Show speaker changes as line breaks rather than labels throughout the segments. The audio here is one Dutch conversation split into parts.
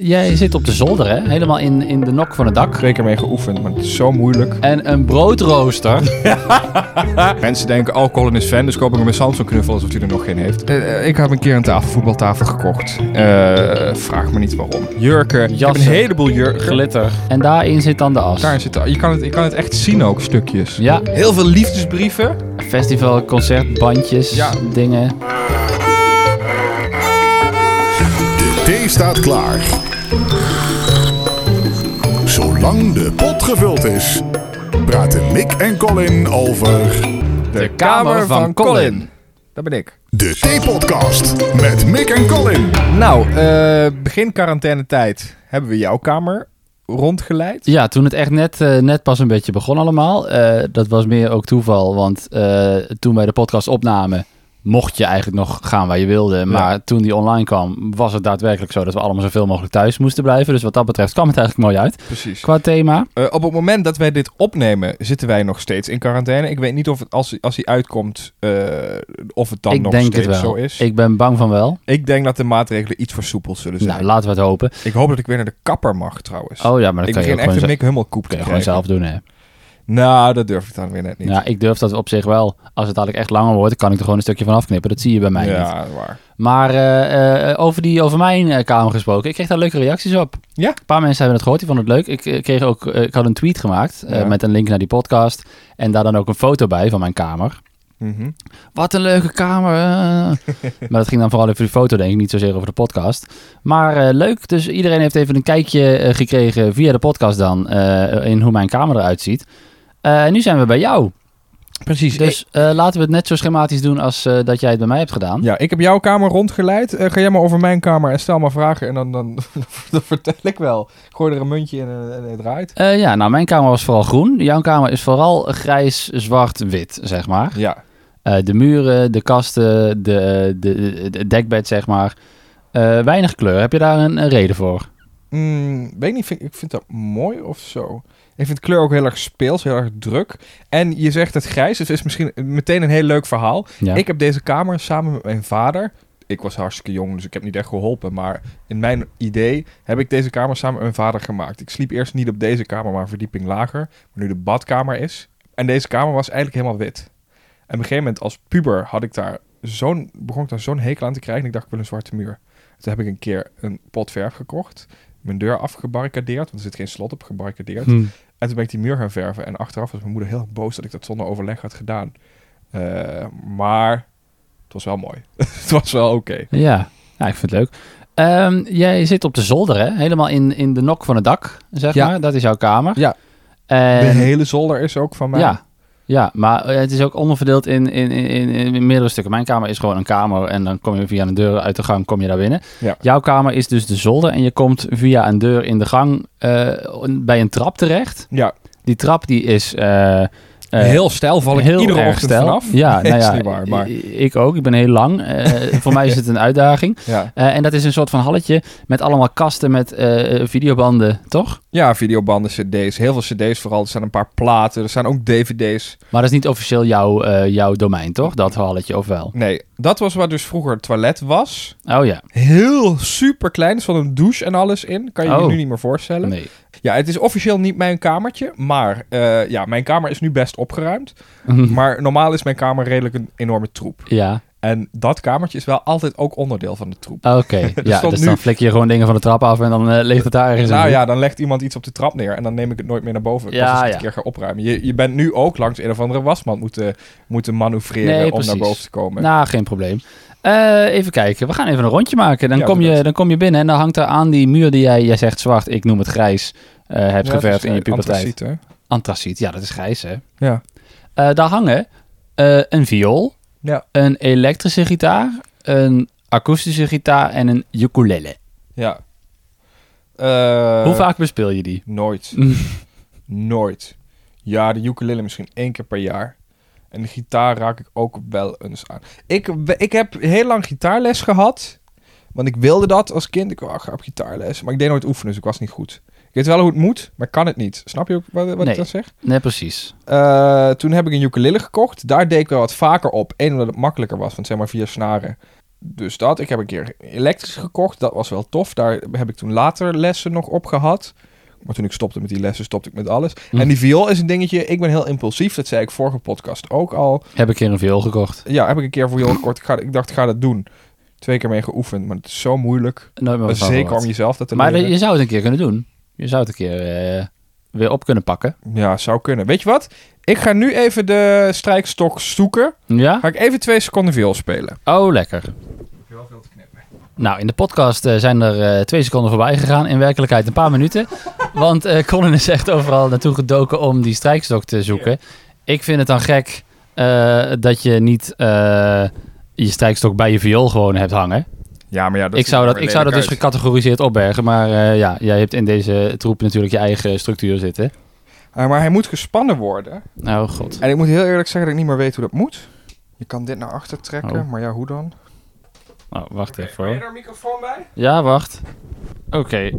Jij zit op de zolder, hè? Helemaal in, in de nok van het dak.
Twee keer mee geoefend, maar het is zo moeilijk.
En een broodrooster.
Mensen denken alcohol in is fan, dus koop ik hem met Samsung knuffel alsof hij er nog geen heeft. Eh, ik heb een keer een tafel, voetbaltafel gekocht. Eh, vraag me niet waarom. Jurken. Ik heb
Jassen.
een heleboel jurken.
Glitter. En daarin zit dan de as.
Daar zit, je, kan het, je kan het echt zien ook, stukjes.
Ja,
Heel veel liefdesbrieven.
festival, concert, bandjes,
Ja.
dingen.
De thee staat klaar. Zolang de pot gevuld is, praten Mick en Colin over
De,
Kamer van Colin.
Dat ben ik.
de Theepodcast met Mick en Colin.
Nou, eh, begin quarantainetijd hebben we jouw kamer rondgeleid.
Ja, toen het echt net, eh, net pas een beetje begon allemaal. eh, dat was meer ook toeval, want eh, toen wij de podcast opnamen... mocht je eigenlijk nog gaan waar je wilde. Maar toen die online kwam, was het daadwerkelijk zo... dat we allemaal zoveel mogelijk thuis moesten blijven. Dus wat dat betreft kwam het eigenlijk mooi uit.
Precies.
Qua thema.
Eh, op het moment dat wij dit opnemen, zitten wij nog steeds in quarantaine. Ik weet niet of het, als, als hij uitkomt, eh, of het dan
ik
nog
denk het
steeds
wel.
zo is. Ik,
Ik ben bang van wel.
denk dat de maatregelen iets versoepeld zullen zijn.
nou, laten we het hopen.
ik hoop dat ik weer naar de kapper mag trouwens.
Oh ja, maar dat kan je,
ik begin
ook
echt
gewoon,
een
zelf-
Mick Hummelkoep te
kan je gewoon
krijgen.
zelf doen, hè?
Nou, dat durf ik dan weer net niet.
Ja, ik durf dat op zich wel. Als het dadelijk echt langer wordt, dan kan ik er gewoon een stukje van afknippen. Dat zie je bij mij niet.
Ja, waar.
Maar eh, eh, over, die, over mijn eh, kamer gesproken, ik kreeg daar leuke reacties op.
Ja?
Een paar mensen hebben het gehoord, die vonden het leuk. Ik, eh, kreeg ook, eh, ik had een tweet gemaakt eh,
Ja.
met een link naar die podcast. En daar dan ook een foto bij van mijn kamer.
Mhm.
Wat een leuke kamer. eh. maar dat ging dan vooral over die foto, denk ik. Niet zozeer over de podcast. Maar eh, leuk. Dus iedereen heeft even een kijkje eh, gekregen via de podcast dan. eh, in hoe mijn kamer eruit ziet. Eh, nu zijn we bij jou.
Precies.
Dus eh, laten we het net zo schematisch doen als eh, dat jij het bij mij hebt gedaan.
e- Ja, ik heb jouw kamer rondgeleid. Eh, ga jij maar over mijn kamer en stel maar vragen. En dan, dan, dan vertel ik wel. Gooi er een muntje in en, en het draait.
Eh, ja, nou, mijn kamer was vooral groen. Jouw kamer is vooral grijs, zwart, wit, zeg maar.
Ja.
Eh, de muren, de kasten, de, de, de- het dekbed, zeg maar. Eh, weinig kleur. Heb je daar een, een reden voor?
Mm, weet niet, vind, ik vind dat mooi of zo. Ik vind kleur ook heel erg speels, heel erg druk. En je zegt het grijs, dus is misschien meteen een heel leuk verhaal.
Ja.
Ik heb deze kamer samen met mijn vader. Ik was hartstikke jong, dus ik heb niet echt geholpen. Maar in mijn idee heb ik deze kamer samen met mijn vader gemaakt. Ik sliep eerst niet op deze kamer, maar een verdieping lager. Waar nu de badkamer is. En deze kamer was eigenlijk helemaal wit. En op een gegeven moment als puber had ik daar zo'n, begon ik daar zo'n hekel aan te krijgen. En ik dacht, ik wil een zwarte muur. Toen heb ik een keer een pot verf gekocht. Mijn deur afgebarricadeerd, want er zit geen slot op, gebarricadeerd. En toen ben ik die muur gaan verven. En achteraf was mijn moeder heel erg boos dat ik dat zonder overleg had gedaan. Eh, maar het was wel mooi. het was wel oké.
Ja. ja, ik vind het leuk. Ehm, jij zit op de zolder, hè? Helemaal in, in de nok van het dak, zeg
Ja.
maar. Dat is jouw kamer.
Ja. De
En,
hele zolder is ook van mij.
Ja. Ja, maar eh, het is ook onderverdeeld in, in, in, in, in meerdere stukken. Mijn kamer is gewoon een kamer en dan kom je via een deur uit de gang kom je daar binnen.
Ja.
Jouw kamer is dus de zolder en je komt via een deur in de gang eh, bij een trap terecht.
Ja.
Die trap die is eh, eh,
heel stijl val ik
heel
iedere
erg
ochtend
steil.
vanaf.
Ja,
Nee,
nou
is
ja,
niet waar, maar-
i- ik ook. Ik ben heel lang. Eh, voor mij is het een uitdaging.
Ja.
Eh, en dat is een soort van halletje met allemaal kasten met eh, videobanden, toch?
ja, videobanden, cd's. Heel veel cd's vooral. Er staan een paar platen. Er staan ook dvd's.
Maar dat is niet officieel jouw, eh, jouw domein, toch? Dat halletje, of wel?
Nee, dat was waar dus vroeger het toilet was.
Oh ja,
Heel super klein. Er zat een douche en alles in. Kan je je
Oh.
nu niet meer voorstellen.
nee.
Ja, het is officieel niet mijn kamertje. Maar eh, ja, mijn kamer is nu best opgeruimd. Maar normaal is mijn kamer redelijk een enorme troep.
Ja,
En dat kamertje is wel altijd ook onderdeel van de troep.
oké.
Dus
ja,
dan
dus
nu-
dan flik je gewoon dingen van de trap af en dan eh, ligt het daar ergens in.
nou ja, dan legt iemand iets op de trap neer en dan neem ik het nooit meer naar boven.
Ja,
Ja, als ik het
ja.
een keer ga opruimen. Je, je bent nu ook langs een of andere wasmand moeten, moeten manoeuvreren
Nee,
om
precies.
naar boven te komen.
Nou, geen probleem. Eh, even kijken, we gaan even een rondje maken. Dan,
Ja,
kom,
doe
je,
dat.
dan kom je binnen en dan hangt er aan die muur die jij, jij zegt zwart, ik noem het grijs, eh, hebt
Ja, dat
geverfd
is,
in je
eh,
puberteit.
antraciet, hè?
Antraciet, ja, dat is grijs hè.
Ja.
Eh, daar hangen eh, een viool,
Ja.
een elektrische gitaar, een akoestische gitaar en een ukulele.
ja. Eh,
Hoe vaak bespeel je die?
Nooit. Nooit. Ja, de ukulele misschien één keer per jaar. En de gitaar raak ik ook wel eens aan. Ik, we- ik heb heel lang gitaarles gehad. Want ik wilde dat als kind. Ik wou, ah, ga op gitaarles. Maar ik deed nooit oefenen, dus ik was niet goed. Ik weet wel hoe het moet, maar ik kan het niet. Snap je ook wat, wat
Nee.
ik dan zeg?
Nee, precies.
Eh, toen heb ik een ukulele gekocht. Daar deed ik wel wat vaker op. Eén, omdat het makkelijker was, want het zijn maar vier snaren. Dus dat. Ik heb een keer elektrisch gekocht. Dat was wel tof. Daar heb ik toen later lessen nog op gehad. Maar toen ik stopte met die lessen, stopte ik met alles.
Hm.
En die viool is een dingetje. Ik ben heel impulsief. Dat zei ik vorige podcast ook al.
Heb ik hier een viool gekocht.
Ja, heb ik een keer voor viool gekocht. Ik, ga, ik dacht, ik ga dat doen. Twee keer mee geoefend. Maar het is zo moeilijk.
Nooit meer van
Eh, Zeker
gehoord.
om jezelf dat te
Maar
leren.
je zou het een keer kunnen doen. Je zou het een keer eh, weer op kunnen pakken.
Ja, zou kunnen. Weet je wat? Ik ga nu even de strijkstok zoeken.
Ja?
Ga ik even twee seconden viool spelen.
Oh, lekker. Nou, in de podcast eh, zijn er eh, twee seconden voorbij gegaan. In werkelijkheid een paar minuten. Want eh Colin is echt overal naartoe gedoken om die strijkstok te zoeken. Ik vind het dan gek eh, dat je niet eh, je strijkstok bij je viool gewoon hebt hangen.
Ja, maar ja, dat
ik
ziet
zou
er
dat,
wel
ik zou dat dus
lelijk uit.
gecategoriseerd opbergen. Maar eh, ja, jij hebt in deze troep natuurlijk je eigen structuur zitten.
Ah, maar hij moet gespannen worden.
Oh god.
En ik moet heel eerlijk zeggen dat ik niet meer weet hoe dat moet. Je kan dit naar achter trekken,
Oh.
maar ja, hoe dan?
Oh, wacht even hoor.
daar een microfoon bij?
Ja, wacht. Oké.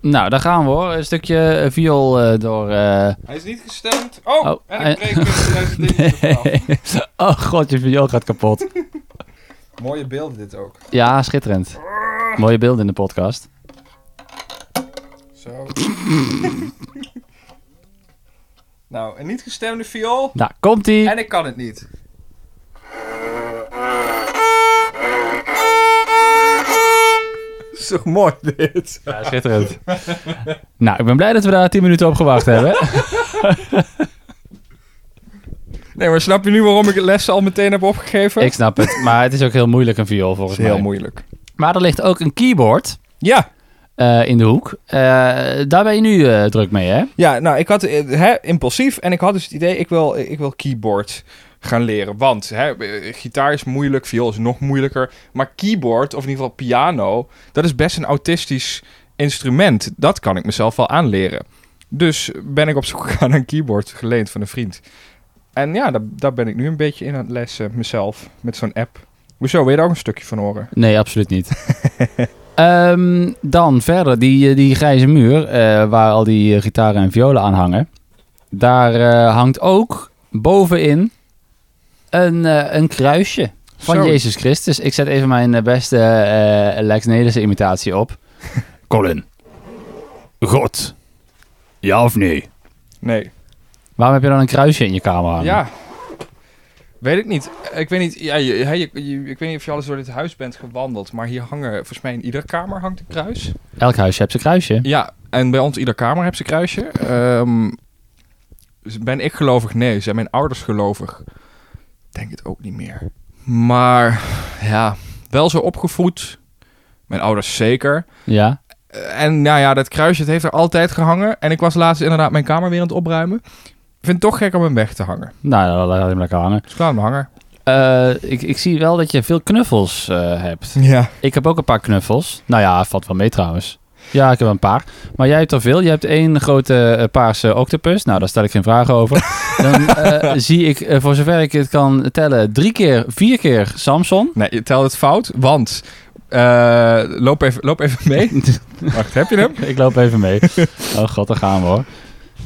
Nou, daar gaan we hoor. Een stukje eh, viool eh, door. eh,
Hij is niet gestemd. Oh,
Oh,
en ik
eh,
breek het deze ding ervan.
oh god, je viool gaat kapot.
Mooie beelden dit ook.
Ja, schitterend. Mooie beelden in de podcast.
Zo. nou, een niet gestemde viool.
Nou, komt ie.
En ik kan het niet. Zo mooi dit.
Ja, schitterend. nou, ik ben blij dat we daar 10 minuten op gewacht hebben.
Nee, maar snap je nu waarom ik het lessen al meteen heb opgegeven?
ik snap het. Maar het is ook heel moeilijk een viool
Dat is
volgens mij.
heel moeilijk.
Maar er ligt ook een keyboard
Ja,
eh, in de hoek. Eh, daar ben je nu eh, druk mee, hè?
ja nou, ik had eh, hè, impulsief en ik had dus het idee, ik wil, ik wil keyboard gaan leren. Want hè, eh, gitaar is moeilijk, viool is nog moeilijker. Maar keyboard, of in ieder geval piano, dat is best een autistisch instrument. Dat kan ik mezelf wel aanleren. Dus ben ik op zoek gegaan naar een keyboard, geleend van een vriend. En ja, daar, daar ben ik nu een beetje in aan het lessen, mezelf, met zo'n app. Hoezo, wil je daar ook een stukje van horen?
Nee, absoluut niet. Ehm, dan verder, die, eh, die grijze muur eh, waar al die eh, gitaren en violen aan hangen. Daar eh, hangt ook bovenin een, eh, een kruisje van
Zo.
Jezus Christus. Ik zet even mijn eh, beste eh, Lex Nederse imitatie op.
Colin. God. Ja of nee?
Nee.
Waarom heb je dan een kruisje in je kamer hangen?
Ja. Weet ik niet. Ik weet niet, ja, je, hè, je- je- ik weet niet of je alles door dit huis bent gewandeld, maar hier hangen, volgens mij in iedere kamer hangt een kruis.
Elk huisje heeft zijn kruisje.
Ja, en bij ons iedere kamer heeft ze een kruisje. Ehm, dus ben ik gelovig? Nee. Zijn mijn ouders gelovig? Ik Denk het ook niet meer. Maar ja, wel zo opgevoed. Mijn ouders zeker.
Ja.
Eh, En nou ja, dat kruisje het heeft er altijd gehangen. En ik was laatst inderdaad mijn kamer weer aan het opruimen. Ik vind het toch gek om hem weg te hangen.
Nou, dan laat hem lekker hangen.
Dus ik laat hem hangen.
Eh, ik, ik zie wel dat je veel knuffels eh, hebt.
Ja.
Ik heb ook een paar knuffels. Nou ja, valt wel mee trouwens. Ja, ik heb een paar. Maar jij hebt er veel. Je hebt één grote eh, paarse octopus. Nou, daar stel ik geen vragen over. Dan eh, zie ik, eh, voor zover ik het kan tellen, drie keer, vier keer Samson.
Nee, je telt het fout, want... eh, loop, even, loop even mee. Wacht, heb je hem?
ik loop even mee. Oh god, daar gaan we hoor.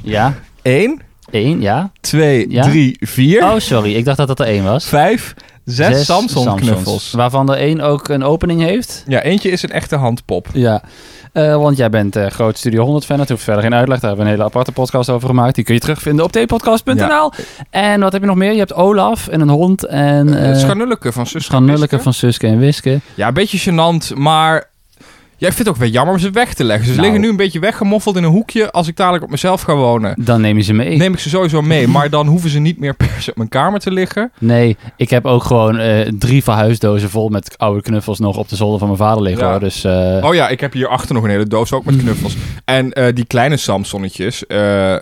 Ja,
1,
één, ja.
2,
Ja?
3, 4,
Oh, sorry. Ik dacht dat dat er één was.
5, 6 Samson-knuffels.
Waarvan er één ook een opening heeft.
Ja, eentje is een echte handpop.
Ja, eh, want jij bent eh, groot Studio 100 fan. Dat hoeft verder geen uitleg. Daar hebben we een hele aparte podcast over gemaakt. Die kun je terugvinden op tpodcast.nl. En wat heb je nog meer? Je hebt Olaf en een hond en
Eh,
eh
Scharnulleke van Suske.
Scharnulleke
Wiske.
van Suske en Wiske.
Ja, een beetje gênant, maar... Jij vindt het ook wel jammer om ze weg te leggen. Ze
Nou.
liggen nu een beetje weggemoffeld in een hoekje. Als ik dadelijk op mezelf ga wonen,
Dan neem je ze mee. Nee,
neem ik ze sowieso mee. Maar dan hoeven ze niet meer per se op mijn kamer te liggen.
ik heb ook gewoon eh, drie verhuisdozen vol met oude knuffels nog op de zolder van mijn vader liggen.
Ja.
Hoor. Dus eh,
Oh ja, ik heb hierachter nog een hele doos
Mm.
ook met knuffels. En eh, die kleine Samsonnetjes, eh,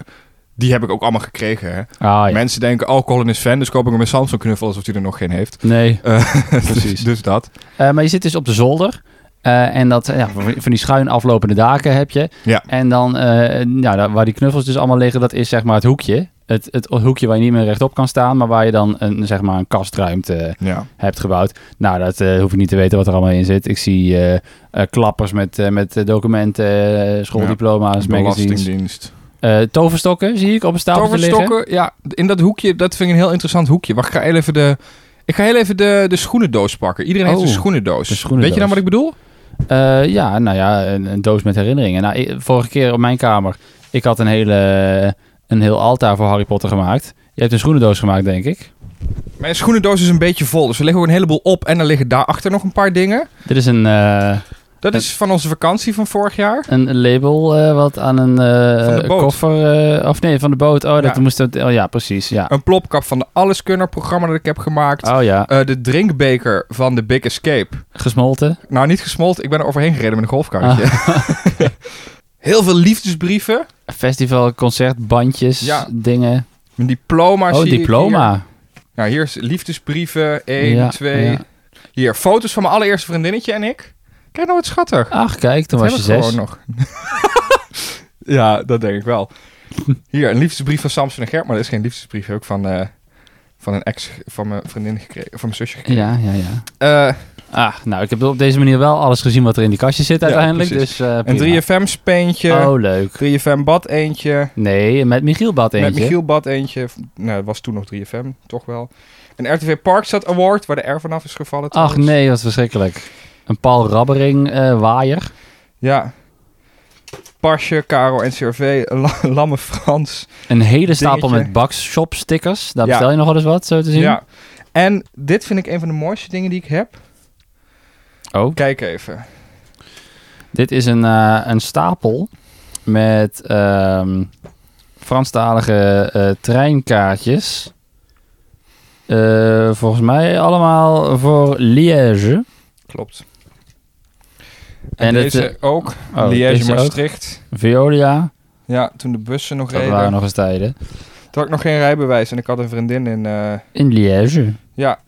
die heb ik ook allemaal gekregen. Hè?
ah, ja.
Mensen denken, oh, Colin is fan, dus koop ik hem een Samsung knuffel alsof hij er nog geen heeft.
nee.
Precies. dus dat.
Eh, maar je zit dus op de zolder. Eh, en dat, eh, ja, van van die schuin aflopende daken heb je.
Ja.
En dan, eh, ja, daar- waar die knuffels dus allemaal liggen, dat is zeg maar het hoekje. Het, het hoekje waar je niet meer rechtop kan staan, maar waar je dan een, zeg maar een kastruimte
Ja.
hebt gebouwd. Nou, dat eh, hoef ik niet te weten wat er allemaal in zit. Ik zie eh, eh, klappers met, eh, met eh, documenten, eh, schooldiploma's, magazines.
Belastingdienst.
Eh, toverstokken zie ik op een stapel te liggen.
Toverstokken, ja, in dat hoekje, dat vind ik een heel interessant hoekje. Wacht, ik ga heel even de Ik ga heel even de, de schoenendoos pakken. Iedereen heeft
Oh,
een schoenendoos.
de schoenendoos.
Weet je nou wat ik bedoel?
Eh, ja, nou ja, een, een doos met herinneringen. Nou, ik- vorige keer op mijn kamer, ik had een, hele, een heel altaar voor Harry Potter gemaakt. Je hebt een schoenendoos gemaakt, denk ik.
Mijn schoenendoos is een beetje vol, dus er liggen ook een heleboel op. En er liggen daarachter nog een paar dingen.
Dit is een, eh,
Dat
En-
is van onze vakantie van vorig jaar.
een label eh, wat aan een eh,
Van de boot.
koffer... eh, of nee, van de boot. Oh, dat
Ja.
moest... Dat, oh ja, precies, ja.
Een plopkap van de Alleskunner programma dat ik heb gemaakt.
Oh ja,
Eh, de drinkbeker van The Big Escape.
gesmolten.
Nou, niet gesmolten. Ik ben er overheen gereden met een golfkarretje.
Ah.
Heel veel liefdesbrieven.
Festival, concert, bandjes,
Ja.
dingen.
Mijn diploma
oh,
zie ik hier.
diploma.
Nou, hier is liefdesbrieven. 1,
Ja,
2.
ja.
Hier, foto's van mijn allereerste vriendinnetje en ik. Kijk nou wat schattig.
Ach, kijk, toen was je
Hebben we
zes.
Gewoon nog. ja, dat denk ik wel. Hier, een liefdesbrief van Samson en Gert. Maar dat is geen liefdesbrief. Heb ik van, eh, van een ex van mijn vriendin gekregen. Van mijn zusje gekregen.
Ja, ja, ja.
Eh,
Ah, nou, ik heb op deze manier wel alles gezien wat er in die kastje zit uiteindelijk.
precies.
dus, eh, prima.
een 3FM speentje.
Oh, leuk.
3FM bad eentje.
Nee, met Michiel Bad eentje.
Met Michiel Bad eentje. Nou, dat was toen nog 3FM, toch wel. Een RTV Parkstad Award, waar de R vanaf is gevallen.
Ach
trouwens.
nee, wat verschrikkelijk. Een Paul Rabbering eh, waaier.
Ja. Pasje, Caro en CRV, La- Lamme Frans.
Een hele stapel
Dingetje.
met bakshop stickers. Daar
Ja.
bestel je nog wel eens wat, zo te zien.
Ja. En dit vind ik een van de mooiste dingen die ik heb.
Oh.
Kijk even.
Dit is een, eh, een stapel met ehm, Franstalige eh, treinkaartjes. Eh, volgens mij allemaal voor Liège.
Klopt. En,
En het,
deze ook.
Oh,
Liège,
deze ook.
Maastricht.
Veolia,
Ja, toen de bussen nog
dat
reden.
waren nog eens tijden.
Toen had ik nog geen rijbewijs en ik had een vriendin in... eh,
In Liège.
ja,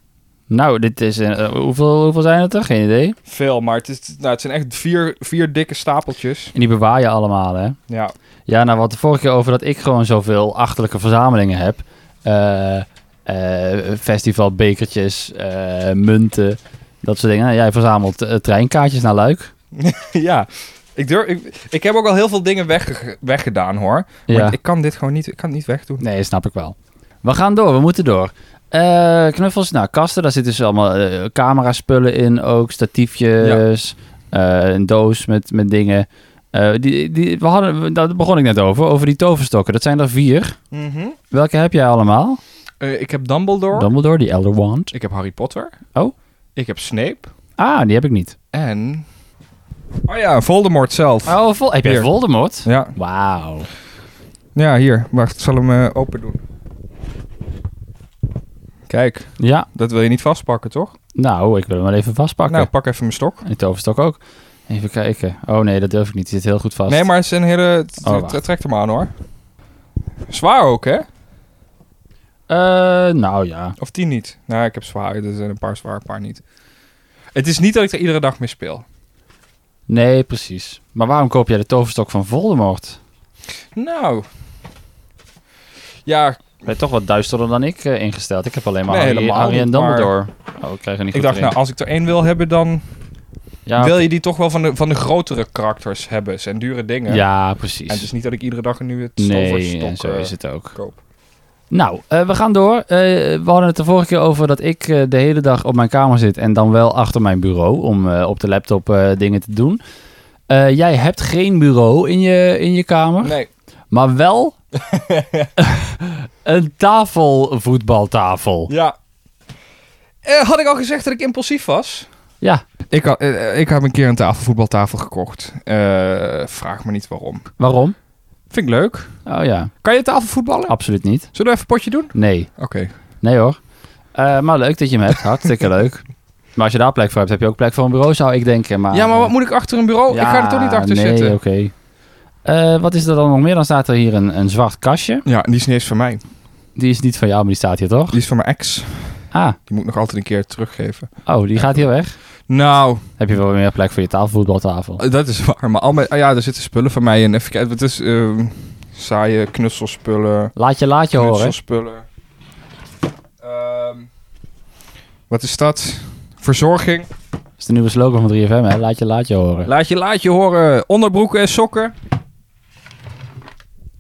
Nou, dit is... een- eh, hoeveel, hoeveel zijn het er? Geen idee.
veel. Maar het, is, nou, het zijn echt vier, vier dikke stapeltjes.
En die bewaar je allemaal, hè?
Ja.
Ja, nou, wat de vorige keer over dat ik gewoon zoveel achterlijke verzamelingen heb. Eh, eh, festivalbekertjes, eh, munten, dat soort dingen. Nou, jij verzamelt eh, treinkaartjes naar Luik.
Ja, ik, durf, ik, ik heb ook al heel veel dingen wegge- weggedaan hoor. Maar
Ja.
ik, ik kan dit gewoon niet, ik kan het niet wegdoen.
Nee, snap ik wel. We gaan door, we moeten door. Eh, knuffels, nou, kasten, daar zitten dus allemaal eh, cameraspullen in ook, statiefjes, eh, een doos met, met dingen. Eh, die, die, we hadden, daar begon ik net over, over die toverstokken. Dat zijn er vier. Welke heb jij allemaal?
Eh, ik heb Dumbledore.
Dumbledore, die Elder Wand.
ik heb Harry Potter.
Oh.
Ik heb Snape.
Ah, die heb ik niet.
En... Oh ja, Voldemort zelf.
Oh, vol heb jij
Hier.
Voldemort?
Ja.
Wauw.
ja, hier. Wacht, ik zal hem eh, open doen. Kijk,
Ja,
dat wil je niet vastpakken toch?
nou, ik wil hem wel even vastpakken.
Nou, pak even mijn stok.
En de toverstok ook. Even kijken. Oh nee, dat durf ik niet. Die zit heel goed vast.
Nee, maar het is een hele... het-
Oh,
het-
wacht.
het Trek hem aan hoor. Zwaar ook hè?
Eh, nou ja.
Of die niet? Nou, ik heb zwaar. Er zijn een paar zwaar, een paar niet. Het is niet dat ik er iedere dag mee speel.
Nee, precies. Maar waarom koop jij de toverstok van Voldemort?
Nou. Ja,
Ben je toch wat duisterder dan ik eh, ingesteld? Ik heb alleen maar
Nee,
Harry,
helemaal
Harry en
niet, maar-
Dumbledore. Oh, ik krijg er niet
ik
goed
dacht, nou,
erin.
als ik er één wil hebben, dan
ja,
wil je die toch wel van de, van de grotere karakters hebben. En dure dingen.
ja,
En het is
precies.
niet dat ik iedere dag een nieuwe
Nee,
toverstok
en zo
eh,
is het ook.
koop.
Nou, eh, we gaan door. Eh, we hadden het de vorige keer over dat ik eh, de hele dag op mijn kamer zit en dan wel achter mijn bureau om eh, op de laptop eh, dingen te doen. Eh, jij hebt geen bureau in je, in je kamer,
Nee,
maar wel een tafel, voetbaltafel.
ja. Eh, had ik al gezegd dat ik impulsief was?
Ja,
Ik had, eh, eh, ik had een keer een tafel, voetbaltafel gekocht. Eh, vraag me niet waarom.
waarom?
Vind ik leuk.
Oh ja,
Kan je tafel voetballen?
absoluut niet.
Zullen we even een potje doen?
Nee,
Oké.
nee hoor. Eh, maar leuk dat je hem hebt, hartstikke leuk. Maar als je daar plek voor hebt, heb je ook plek voor een bureau, zou ik denken. Maar, eh,
ja, maar wat moet ik achter een bureau? Oh, ik ga er toch niet achter
Ah, nee,
zitten.
oké. Eh, wat is er dan nog meer? Dan staat er hier een, een zwart kastje.
Ja, die is niet eens van mij.
Die is niet van jou, maar die staat hier toch?
Die is van mijn ex.
Ah,
Die moet ik nog altijd een keer teruggeven.
oh, die gaat hier weg.
Nou,
Heb je wel meer plek voor je tafelvoetbaltafel?
dat is waar. Maar al mijn, ah ja, er zitten spullen van mij in. Even kijken, wat is ehm, saaie knutselspullen.
Laat je, laat je horen.
Knutselspullen. Ehm, wat is dat? Verzorging.
Dat is de nieuwe slogan van 3FM, hè? Laat je, laat je horen.
Laat je, laat je horen. Onderbroeken en sokken.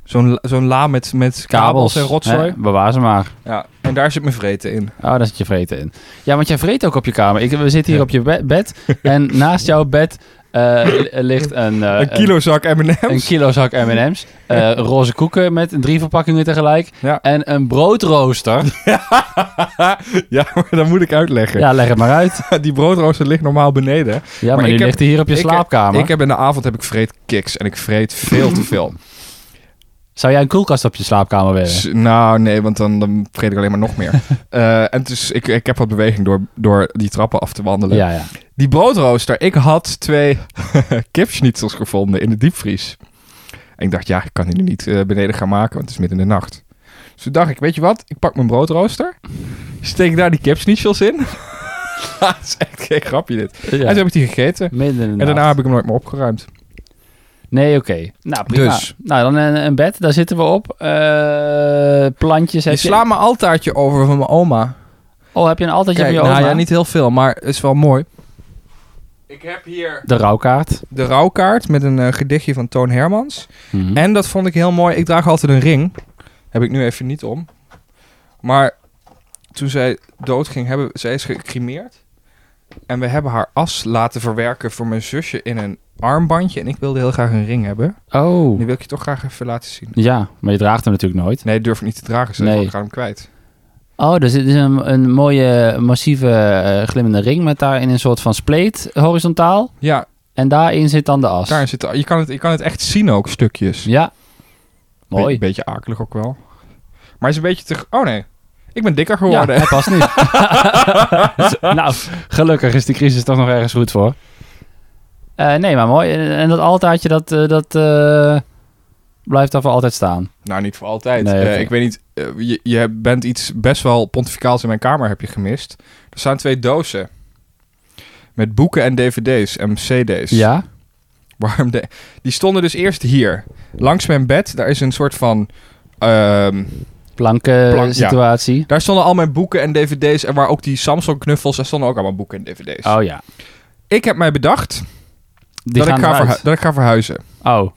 Zo'n zo'n la met, met kabels,
Kabels.
en rotzooi.
hè, bewaar ze maar.
Ja, en daar zit mijn vreten in.
Oh, daar zit je vreten in. Ja, want jij vreet ook op je kamer. Ik, we zitten hier
Ja.
op je be- bed. en naast jouw bed eh, ligt een... eh,
een kilozak M&M's.
Een kilo zak M&M's. eh, roze koeken met drie verpakkingen tegelijk.
Ja.
En een broodrooster.
ja, maar dat moet ik uitleggen.
Ja, leg het maar uit.
Die broodrooster ligt normaal beneden.
Ja, maar,
Maar
die
ik heb-
ligt hier op je
ik heb-
slaapkamer.
Ik heb in de avond heb ik vreet kiks en ik vreet veel te veel.
Zou jij een koelkast op je slaapkamer willen?
S- Nou, nee, want dan, dan vreet ik alleen maar nog meer. Eh, en dus ik, ik heb wat beweging door, door die trappen af te wandelen.
Ja, ja.
Die broodrooster, ik had twee kipschnitzels gevonden in de diepvries. En ik dacht, ja, ik kan die nu niet eh, beneden gaan maken, want het is midden in de nacht. Dus toen dacht ik, weet je wat? Ik pak mijn broodrooster, steek daar die kipschnitzels in. dat is echt geen grapje dit. En
ja.
toen heb ik die gegeten.
Midden in de
En daarna
nacht.
heb ik hem nooit meer opgeruimd.
Nee, oké. Nou, prima.
Dus.
Nou, dan een, een bed. Daar zitten we op. Eh, plantjes.
Die
Heb je...
sla mijn altaartje over van mijn oma.
Oh, heb je een altaartje van
Kijk,
je
nou
oma?
ja, niet heel veel, maar is wel mooi. Ik heb hier
De rouwkaart.
de rouwkaart met een eh, gedichtje van Toon Hermans.
Mhm.
En dat vond ik heel mooi. Ik draag altijd een ring. Heb ik nu even niet om. Maar toen zij dood ging, hebben, zij is gecremeerd. En we hebben haar as laten verwerken voor mijn zusje in een armbandje. En ik wilde heel graag een ring hebben.
Oh.
Die wil ik je toch graag even laten zien.
Ja, maar je draagt hem natuurlijk nooit.
Nee, durf ik niet te dragen. Ze
Nee.
nee. ik ga hem kwijt.
Oh, dus dit is een, een mooie, massieve, eh, glimmende ring met daarin een soort van spleet horizontaal.
Ja,
En daarin zit dan de as.
daarin zit, je, kan het, je kan het echt zien ook, stukjes.
Ja. Mooi.
Een beetje akelig ook wel. Maar is een beetje te... Oh nee, ik ben dikker
Ja,
geworden.
hij past niet. nou, gelukkig is die crisis toch nog ergens goed voor. Eh, nee, maar mooi. En en dat altaartje, dat, eh, dat eh, blijft daar voor altijd staan.
Nou, niet voor altijd.
Nee,
Eh,
oké.
Ik weet niet, eh, je, je bent iets best wel pontificaals in mijn kamer heb je gemist. Er staan twee dozen. Met boeken en dvd's en cd's.
Ja?
Waarom de... Die stonden dus eerst hier. Langs mijn bed, daar is een soort van... ehm,
Planken eh,
Plank, ja.
situatie.
daar stonden al mijn boeken en dvd's. En waar ook die Samsung knuffels, daar stonden ook allemaal boeken en dvd's.
Oh ja.
Ik heb mij bedacht
Die
dat ik,
gaan
ga
eruit.
verhu- dat ik ga verhuizen.
Oh,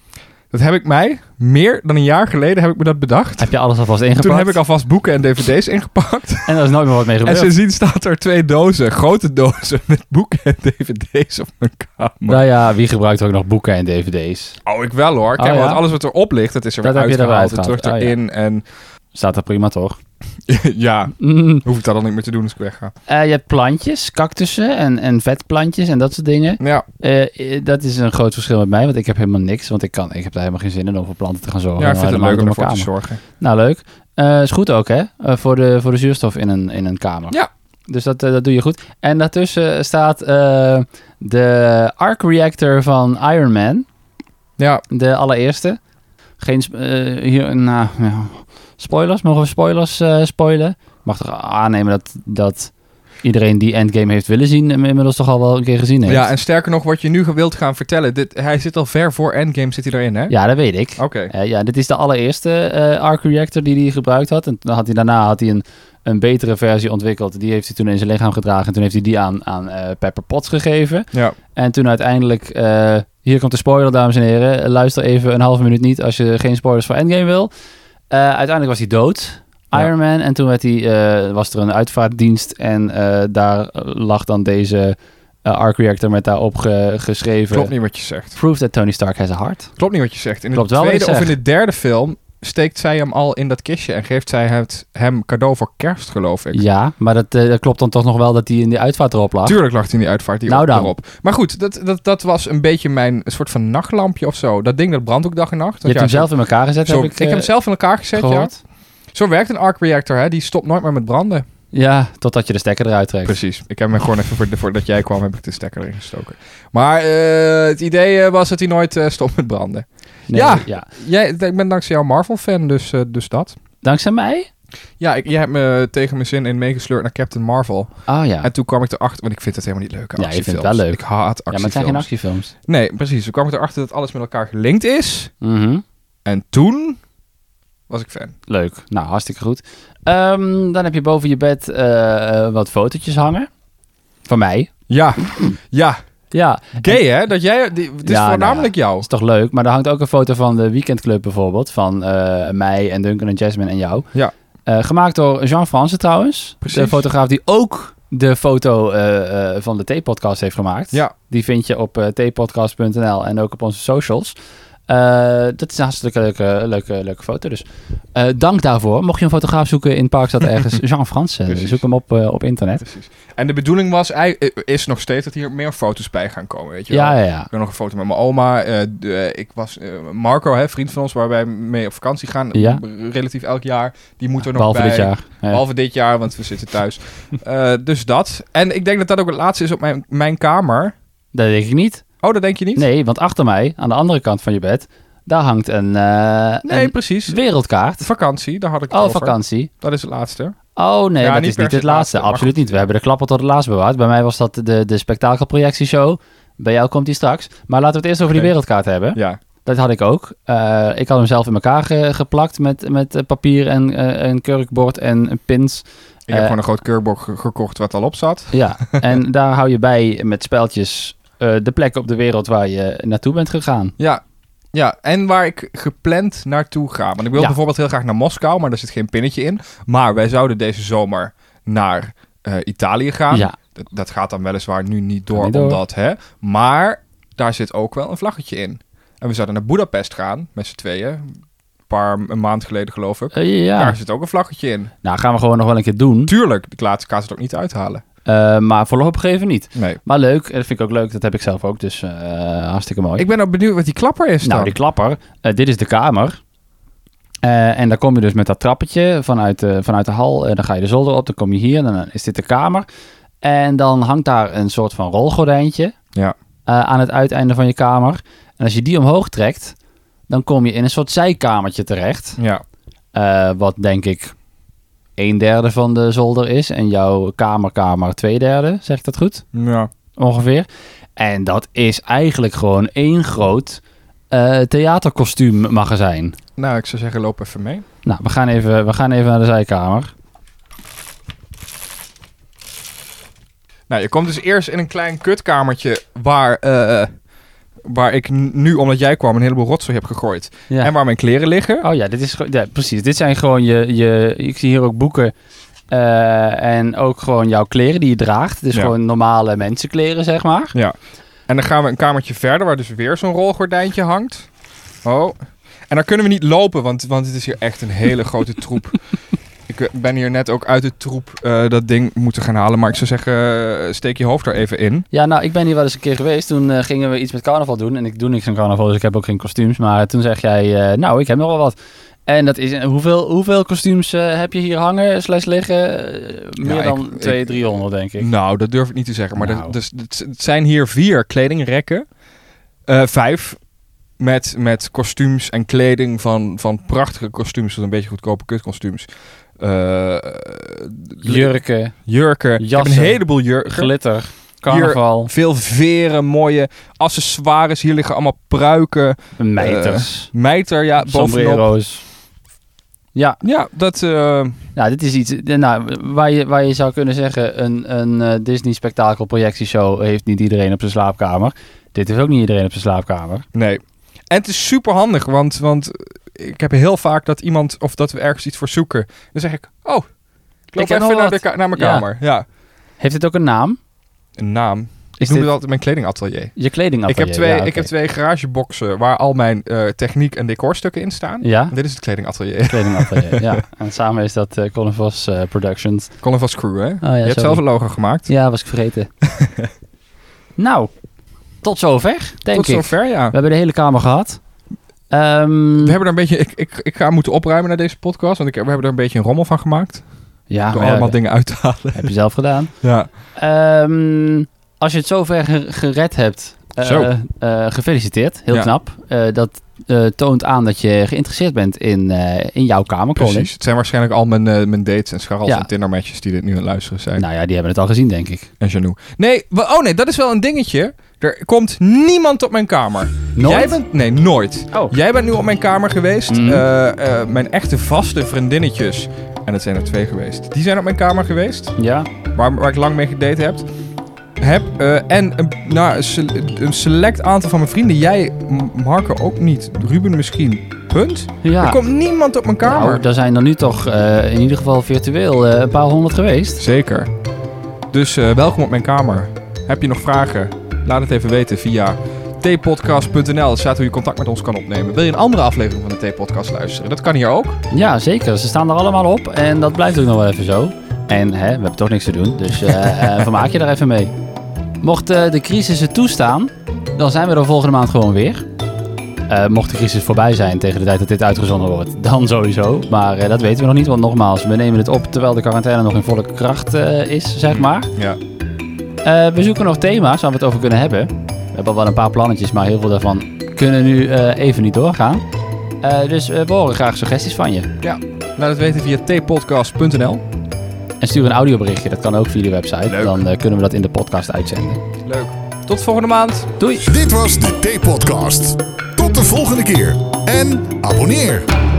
Dat heb ik mij, meer dan een jaar geleden heb ik me dat bedacht.
heb je alles alvast ingepakt?
Toen heb ik alvast boeken en dvd's ingepakt.
En er is nooit meer wat mee
En
gebeurd.
sindsdien staat er twee dozen, grote dozen, met boeken en dvd's op mijn kamer.
Nou ja, wie gebruikt ook nog boeken en dvd's?
Oh, ik wel hoor. Kijk,
Oh, ja?
want alles wat erop ligt, dat is er
Dat
weer
heb je eruit
uitgehaald en terug
gehaald. Oh, ja.
erin. En
Staat er prima, toch?
ja,
Mm.
hoef ik dat dan niet meer te doen als ik wegga.
Eh, je hebt plantjes, cactussen en, en vetplantjes en dat soort dingen.
Ja,
Eh, eh, dat is een groot verschil met mij, want ik heb helemaal niks. Want ik, kan, ik heb daar helemaal geen zin in om voor planten te gaan zorgen.
ja ik vind het
Helemaal
leuk om
niet
ervoor te
mijn
zorgen.
kamer. Nou, leuk. Eh, is goed ook, hè? Eh, voor, de, voor de zuurstof in een, in een kamer.
Ja.
Dus dat, eh, dat doe je goed. En daartussen staat eh, de arc reactor van Iron Man.
Ja,
De allereerste. Geen... sp- eh, hier, nou, ja. Spoilers? Mogen we spoilers eh, spoilen? Mag toch aannemen dat, dat iedereen die Endgame heeft willen zien... hem inmiddels toch al wel een keer gezien heeft?
ja, en sterker nog, wat je nu wilt gaan vertellen, dit, hij zit al ver voor Endgame zit hij erin, hè?
ja dat weet ik.
Oké.
Eh, ja, dit is de allereerste eh, arc reactor die hij gebruikt had. En toen had hij, daarna had hij een, een betere versie ontwikkeld. Die heeft hij toen in zijn lichaam gedragen. En toen heeft hij die aan, aan eh, Pepper Potts gegeven.
Ja.
En toen uiteindelijk... eh, hier komt de spoiler, dames en heren. Eh, Luister even een halve minuut niet als je geen spoilers voor Endgame wil. Eh, uiteindelijk was hij dood,
Ja.
Iron Man. En toen werd hij, eh, was er een uitvaartdienst. En eh, daar lag dan deze eh, arc reactor met daarop ge- geschreven...
Klopt niet wat je zegt.
Proof that Tony Stark has a heart.
Klopt niet wat je zegt. In de
Klopt wel wat ik
tweede of in
zeg.
de derde film steekt zij hem al in dat kistje en geeft zij het, hem cadeau voor kerst, geloof ik.
Ja, maar dat, eh, dat klopt dan toch nog wel dat hij in die uitvaart erop lag.
Tuurlijk lag hij in die uitvaart die
Nou
op,
dan.
erop. Maar goed, dat, dat, dat was een beetje mijn een soort van nachtlampje of zo. Dat ding dat brandt ook dag en nacht.
je hebt
Want
hem
ja,
zelf in elkaar gezet,
zo-
heb
zo-
ik,
ik heb hem
eh,
zelf in elkaar gezet, ja.
gehoord.
Zo werkt een arc reactor, hè. Die stopt nooit meer met branden.
Ja, totdat je de stekker eruit trekt.
Precies. Ik heb hem gewoon even, voor, voordat jij kwam, heb ik de stekker erin gestoken. Maar eh, het idee eh, was dat hij nooit eh, stopt met branden.
Nee,
Ja. Jij, ik ben dankzij jou Marvel-fan, dus, eh, dus dat.
Dankzij mij?
Ja, ik, jij hebt me tegen mijn zin in meegesleurd naar Captain Marvel.
Oh ja.
En toen kwam ik erachter, want ik vind het helemaal niet leuk,
Ja, je vindt het
actiefilms.
wel leuk.
Ik haat
ja, maar het zijn
actiefilms.
geen actiefilms.
Nee, precies. Toen kwam ik erachter dat alles met elkaar gelinkt is.
Mhm.
En toen was ik fan.
Leuk. Nou, hartstikke goed. Ehm, dan heb je boven je bed eh, eh, wat fotootjes hangen. Van mij.
Ja, ja.
Ja,
Gay, hè? Dat jij, die- het is
Ja,
voornamelijk jou.
is toch leuk. Maar er hangt ook een foto van de weekendclub bijvoorbeeld. Van eh, mij en Duncan en Jasmine en jou.
Ja.
Eh, gemaakt door Jean Fransen trouwens.
Precies.
De fotograaf die ook de foto eh, eh, van de T-podcast heeft gemaakt.
Ja.
Die vind je op eh, tpodcast.nl en ook op onze socials. Eh, dat is een hartstikke leuke, leuke, leuke foto. Dus Eh, dank daarvoor. Mocht je een fotograaf zoeken in Parkstad ergens, Jean Fransen.
Precies.
Zoek hem op, eh, op internet.
Precies. En de bedoeling was, ei- eh, is nog steeds dat hier meer foto's bij gaan komen, weet je wel.
Ja, ja, ja.
Ik heb nog een foto met mijn oma. eh, de- eh, ik was, eh, Marco, hè, vriend van ons, waar wij mee op vakantie gaan.
Ja.
r- Relatief elk jaar. Die moet er nog
Behalve
bij.
dit jaar. Ja.
Behalve dit jaar, want we zitten thuis. Eh, dus dat. En ik denk dat dat ook het laatste is op mijn, mijn kamer.
Dat denk ik niet.
Oh, dat denk je niet?
Nee, want achter mij, aan de andere kant van je bed, daar hangt een, eh,
Nee,
een
precies.
wereldkaart.
Vakantie, daar had ik het
Oh,
over.
vakantie.
Dat is het laatste.
Oh nee,
Ja,
dat
niet
is
per
niet
se
het laatste.
laatste, maar
Absoluut niet. We hebben de klappen tot het laatst bewaard. Bij mij was dat de, de spektakelprojectieshow. Bij jou komt die straks. Maar laten we het eerst over
Oké.
die wereldkaart hebben.
Ja.
Dat had ik ook. Eh, ik had hem zelf in elkaar ge- geplakt met, met eh, papier en eh, een kurkbord en een pins.
Ik heb
Eh,
gewoon een groot keurbok ge- gekocht wat al op zat.
Ja, en daar hou je bij met speltjes eh, de plek op de wereld waar je naartoe bent gegaan.
Ja. Ja, en waar ik gepland naartoe ga. Want ik wil
Ja.
bijvoorbeeld heel graag naar Moskou, maar daar zit geen pinnetje in. Maar wij zouden deze zomer naar eh, Italië gaan.
Ja,
Dat, dat gaat dan weliswaar nu niet door,
niet door.
omdat hè. Maar daar zit ook wel een vlaggetje in. En we zouden naar Budapest gaan, met z'n tweeën. Een paar een maand geleden, geloof ik.
Eh, ja.
Daar zit ook een vlaggetje in.
Nou, gaan we gewoon nog wel een keer doen.
Tuurlijk, ik laat kaas het ook niet uithalen.
Eh, maar voorlopig even niet.
Nee.
Maar leuk, en dat vind ik ook leuk. Dat heb ik zelf ook, dus eh, hartstikke mooi.
Ik ben ook benieuwd wat die klapper is
nou,
dan.
die klapper. eh, dit is de kamer. Eh, en dan kom je dus met dat trappetje vanuit de, vanuit de hal. Eh, dan ga je de zolder op, dan kom je hier. Dan eh, is dit de kamer. En dan hangt daar een soort van rolgordijntje
Ja.
eh, aan het uiteinde van je kamer. En als je die omhoog trekt, dan kom je in een soort zijkamertje terecht.
Ja,
Eh, wat denk ik een derde van de zolder is. En jouw kamerkamer twee derde, zeg ik dat goed?
ja.
ongeveer. En dat is eigenlijk gewoon één groot eh theaterkostuummagazijn.
Nou, ik zou zeggen, loop even mee.
Nou, we gaan, even, we gaan even naar de zijkamer.
Nou, je komt dus eerst in een klein kutkamertje waar, eh, waar ik n- nu, omdat jij kwam, een heleboel rotzooi heb gegooid.
Ja.
En waar mijn kleren liggen.
Oh ja, dit is, gewoon- ja, precies. Dit zijn gewoon je, je... Ik zie hier ook boeken eh, en ook gewoon jouw kleren die je draagt. Dus
Ja.
gewoon normale mensenkleren, zeg maar.
En dan gaan we een kamertje verder, waar dus weer zo'n rolgordijntje hangt. Oh. En dan kunnen we niet lopen, want, want het is hier echt een hele grote troep. Ik eh, ben hier net ook uit de troep eh, dat ding moeten gaan halen. Maar ik zou zeggen, eh, steek je hoofd er even in.
Ja, nou, ik ben hier wel eens een keer geweest. Toen eh, gingen we iets met carnaval doen. En ik doe niks aan carnaval, dus ik heb ook geen kostuums. Maar toen zeg jij, eh, nou, ik heb nog wel wat. En dat is, en hoeveel, hoeveel kostuums eh, heb je hier hangen, slash liggen? Eh, meer
ik-
dan
ik-
200, 300, denk ik.
Nou, dat durf ik niet te zeggen. Maar
Nou.
dat- dus, het het zijn hier vier kledingrekken. Eh, vijf. Met, met kostuums en kleding van, van prachtige kostuums. Tot een beetje goedkope kutkostuums. Eh,
Jurken,
jurken. Ik heb
jassen.
een heleboel jurken.
glitter, carnaval,
Veel veren, mooie accessoires. Hier liggen allemaal pruiken.
Eh, meters,
Mijter, ja, bovenop.
sombrero's. Ja,
Ja, dat... eh,
nou, dit is iets eh, nou, waar, je, waar je zou kunnen zeggen... een, een eh, Disney-spektakel-projectieshow heeft niet iedereen op zijn slaapkamer. Dit heeft ook niet iedereen op zijn slaapkamer.
nee. En het is super handig, want, want eh, ik heb heel vaak dat iemand... of dat we ergens iets voor zoeken. Dan zeg ik, oh, ik loop
heb nog
even naar,
wat.
de ka- naar mijn
Ja.
kamer. Ja.
Heeft dit ook een naam?
Een naam.
Is
ik noem
dit
het altijd mijn kledingatelier.
je kleding
Ik heb, twee, ik heb twee garageboxen waar al mijn eh, techniek- en decorstukken in staan.
Ja,
Dit is het kledingatelier.
kledingatelier. ja. En samen is dat eh Colin Vos eh, Productions.
Colin van Crew, hè?
Ah, ja,
je hebt
sorry.
zelf een logo gemaakt.
Ja, was ik vergeten. nou, tot zover, denk
Tot
ik.
zover, ja.
We hebben de hele kamer gehad.
We
Ehm,
hebben er een beetje, ik, ik, ik ga moeten opruimen naar deze podcast, want ik, we hebben er een beetje een rommel van gemaakt.
ja,
door
maar Ah, ja,
allemaal
dat
dingen uit te halen.
heb je zelf gedaan.
Ja.
Ehm, als je het zover ge- gered hebt, eh,
Zo.
eh, gefeliciteerd. Heel
Ja.
knap. Eh, dat eh, toont aan dat je geïnteresseerd bent in, eh, in jouw kamer, Colin.
Precies. Het zijn waarschijnlijk al mijn, eh, mijn dates en scharrels
Ja.
en Tindermatches die dit nu aan het luisteren zijn.
Nou ja, die hebben het al gezien, denk ik.
En Janoe. Nee, wa- oh nee, dat is wel een dingetje. Er komt niemand op mijn kamer.
Nooit?
Jij bent, nee, nooit.
Oh.
Jij bent nu op mijn kamer geweest.
Mhm.
Eh, eh, mijn echte vaste vriendinnetjes. En dat zijn er twee geweest. Die zijn op mijn kamer geweest.
Ja,
Waar, waar ik lang mee gedate heb. heb. eh, en een, nou, een sele- een select aantal van mijn vrienden. Jij, M- Marco, ook niet. Ruben misschien. Punt.
Ja.
Er komt niemand op mijn kamer.
Nou, daar zijn er nu toch eh, in ieder geval virtueel eh, een paar honderd geweest.
Zeker. Dus eh, welkom op mijn kamer. Heb je nog vragen? Laat het even weten via tpodcast.nl. Daar staat hoe je contact met ons kan opnemen. Wil je een andere aflevering van de T-podcast luisteren? Dat kan hier ook.
Ja, zeker. Ze staan er allemaal op en dat blijft ook nog wel even zo. En hè, we hebben toch niks te doen, dus eh eh, vermaak je daar even mee. Mocht eh, de crisis het toestaan, dan zijn we er volgende maand gewoon weer. Eh, mocht de crisis voorbij zijn tegen de tijd dat dit uitgezonden wordt, dan sowieso. Maar eh, dat weten we nog niet, want nogmaals, we nemen het op terwijl de quarantaine nog in volle kracht eh, is, zeg maar.
Ja.
Eh, we zoeken nog thema's waar we het over kunnen hebben. We hebben al wel een paar plannetjes, maar heel veel daarvan kunnen nu eh, even niet doorgaan. Eh, dus eh, we horen graag suggesties van je.
Laat het weten via tpodcast.nl.
En stuur een audioberichtje, dat kan ook via de website.
Leuk.
Dan eh, kunnen we dat in de podcast uitzenden.
Leuk. Tot volgende maand.
Doei!
Dit was de T-podcast. Tot de volgende keer en abonneer.